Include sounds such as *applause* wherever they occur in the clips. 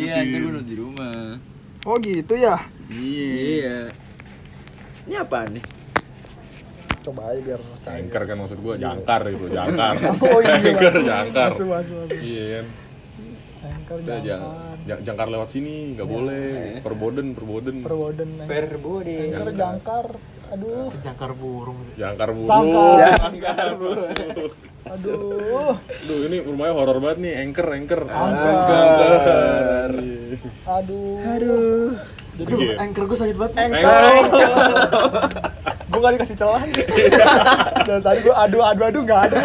iya nanti gue nonton di rumah Oh gitu ya. iya ini apa nih Coba aja biar cair. Jangkar kan maksud gua, jangkar gitu, jangkar. Oh iya. *laughs* Jangkar, jangkar. Masuk masuk. masuk. Iya kan. Anchor Udah jang- jangan. jang- jangkar lewat sini, nggak boleh. Perboden, perboden. Perwoden. Anchor Verbody. Anchor, jangkar. Aduh, jangkar burung Jangkar burung. Sangkar. *laughs* aduh, Duh, ini rumahnya horor banget nih, anchor, anchor. Angker. aduh. Aduh. aduh Iya. anchor gue sakit banget *laughs* Gue gak dikasih *laughs* celah Dan tadi gue aduh aduh aduh gak ada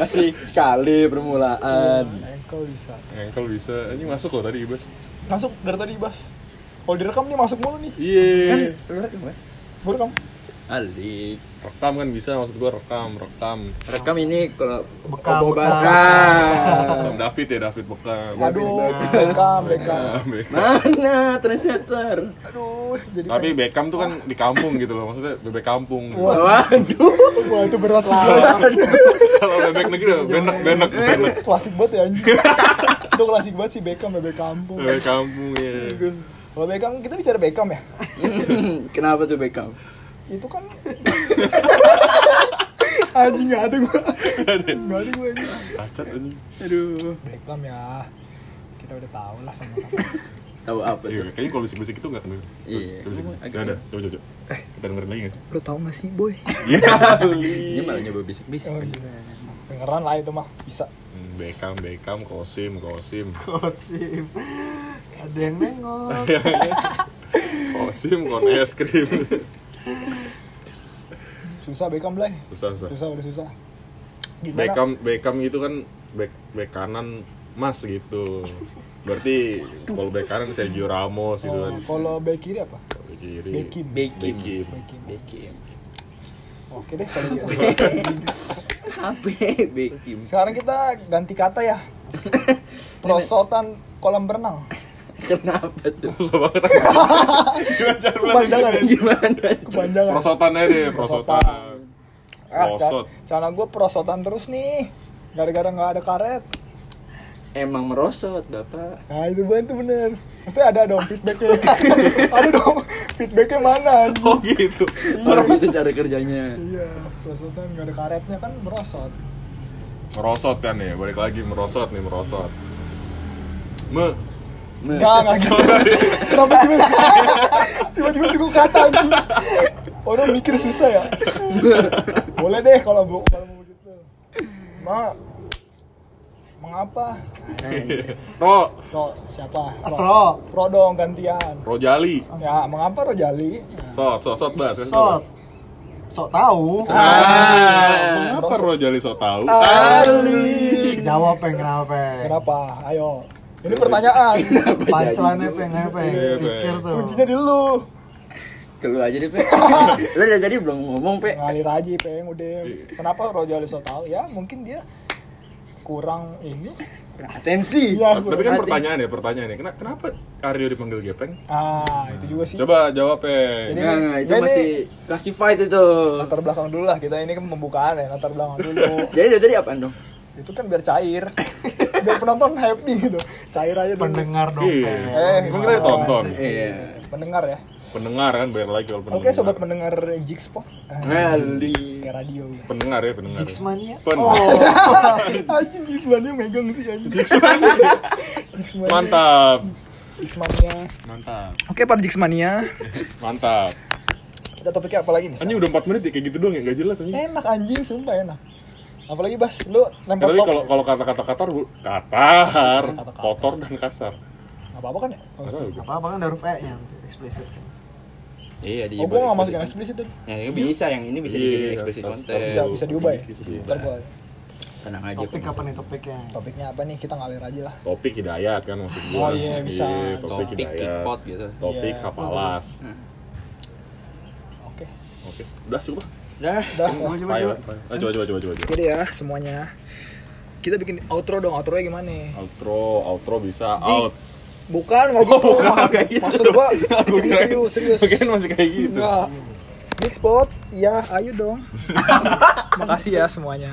masih sekali permulaan Engkel bisa Engkel bisa, ini masuk loh tadi Ibas Masuk dari tadi Bas Kalau direkam nih masuk mulu nih Iya Gue rekam alik Rekam kan bisa, maksud gua rekam, rekam rekam ini kalau Bekam, Oh, bekam. bekam. Rekam David ya, David Bekam Aduh, rekam, *laughs* rekam Bekam, *laughs* Bekam. mana translator Aduh, jadi Tapi Beckham tuh kan di kampung gitu loh, maksudnya bebek kampung waduh Wah itu berat lah Kalau bebek negeri, benek, benek, *laughs* benek Klasik banget ya anjing Itu klasik banget sih Beckham, bebek kampung Bebek kampung ya Kalau Beckham, kita bicara Beckham ya kenapa tuh Beckham Itu kan Anjing gak ada gue Gak ada gue Cacat ini aduh Beckham ya Kita udah tau lah sama-sama tahu apa Iya, tuh kayaknya kalau bisik-bisik itu nggak kena Iya. Gak ada, coba, coba, coba Kita dengerin lagi nggak sih? Lo tau gak sih boy? Iya ini malah nyoba bisik-bisik Oh, iya. Dengeran lah itu mah, bisa Hmm, Beckham, Beckham, Kosim, Kosim Gosip. ada yang nengok Kosim, kon es krim Susah Beckham lah Susah, susah Susah udah susah Gimana? Beckham Beckham itu kan back back kanan Mas gitu. Berarti kalau back kanan Sergio Ramos gitu Oh, kan. Kalau back kiri apa? Kalau back kiri. Beckham. Beckham. Iya. Beckham. Beckham. Beckham Oke deh kalau gitu. HP Beckham Sekarang kita ganti kata *laughs* ya. Perosotan kolam berenang. kenapa tuh Kepanjangan. Iya. gimana Kepanjangan. Prosotan aja deh, prosotan. Ah, ca- Prosot. celana gue perosotan terus nih. Gara-gara nggak ada karet. emang merosot bapak Nah itu banget tuh bener. Mesti ada dong *laughs* feedbacknya. ada dong feedbacknya mana? anjing? Oh gitu. orang itu cara kerjanya Iya, perosotan nggak ada karetnya kan merosot. Merosot kan ya, balik lagi merosot nih, merosot. Me Nggak, nggak gitu. Kenapa tiba-tiba tiba-tiba sih gue kata anjing. Orang mikir susah ya. Boleh deh kalau bu kalau mau begitu. Ma, mengapa? Ro Ro, siapa? Ro. Ro dong gantian. Rojali. Ya, mengapa Rojali? Sot, sot, sot Kan banget. sot sok tahu Ah, kenapa Rojali so Oh. tahu? Ah, jawab peng kenapa peng Kenapa? Ayo. Ini pertanyaan. kenapa pancelannya peng kenapa peng Iya, Peng. pikir tuh Kuncinya di lu. keluar aja deh pe lo dari tadi belum ngomong pe Ngalir aja, Peng. Udah. Kenapa Rojali so tahu? Ya, mungkin dia kurang ini. atensi Iya, Tapi kan Hati. pertanyaan ya, pertanyaan ya. Kena- Kenapa Aryo dipanggil Gepeng? Ah, itu juga sih. Coba jawab, eh. Peng. Nah, nah, itu Jadi- masih classified itu. latar belakang dulu lah kita ini kan pembukaan ya latar belakang dulu Jadi dari tadi apaan dong? itu kan biar cair biar penonton happy gitu cair aja dulu pendengar dong Iya, peng Eh, emang kita tonton. Iya. pendengar ya Pendengar kan bayar lagi kalau pendengar. oke sobat pendengar Jigspot Ngali. kayak radio pendengar ya pendengar. Jigsmania Pen. Oh. anjing Jigsmannya megang sih anjing Jigsmannya *laughs* Mantap. Jigsmannya Mantap. oke para Jigsmania Mantap. kita topiknya apa lagi nih Anjing udah 4 menit ya kayak gitu doang ya enggak jelas anjing. enak anjing sumpah enak apalagi Bas lu Ya, lempar tapi top kalau kalau kata-kata Qatar bu- Qatar kotor dan kasar. nggak apa-apa kan ya Nggak tahu gue. apa apa kan ada huruf e yang eksplisit Iya, di oh gua nggak masukin eksplisit tuh Ya, ini bisa yang ini bisa Iya, dijadiin ekspresi harus- konten. harus- bisa bisa diubah ya Bisa. ntar gua Tenang aja. topik Kok. apa nih topiknya topiknya apa nih kita ngalir aja lah Topik hidayat kan maksud gue. Oh, iya, bisa. topik Topik hidayat. kickpot gitu. Topik Iya. sapalas. oke Oke. Udah cukup. Dah. udah coba coba Ayo. coba Ah, Coba coba coba coba. coba. Jadi ya semuanya kita bikin outro dong outro nya gimana Outro, outro bisa out. *laughs* bukan nggak gitu bukan, maksud, nggak gitu. maksud gua ini serius serius Mungkin masih kayak gitu. *laughs* enggak Big spot, iya, ayo dong. Makasih ya semuanya.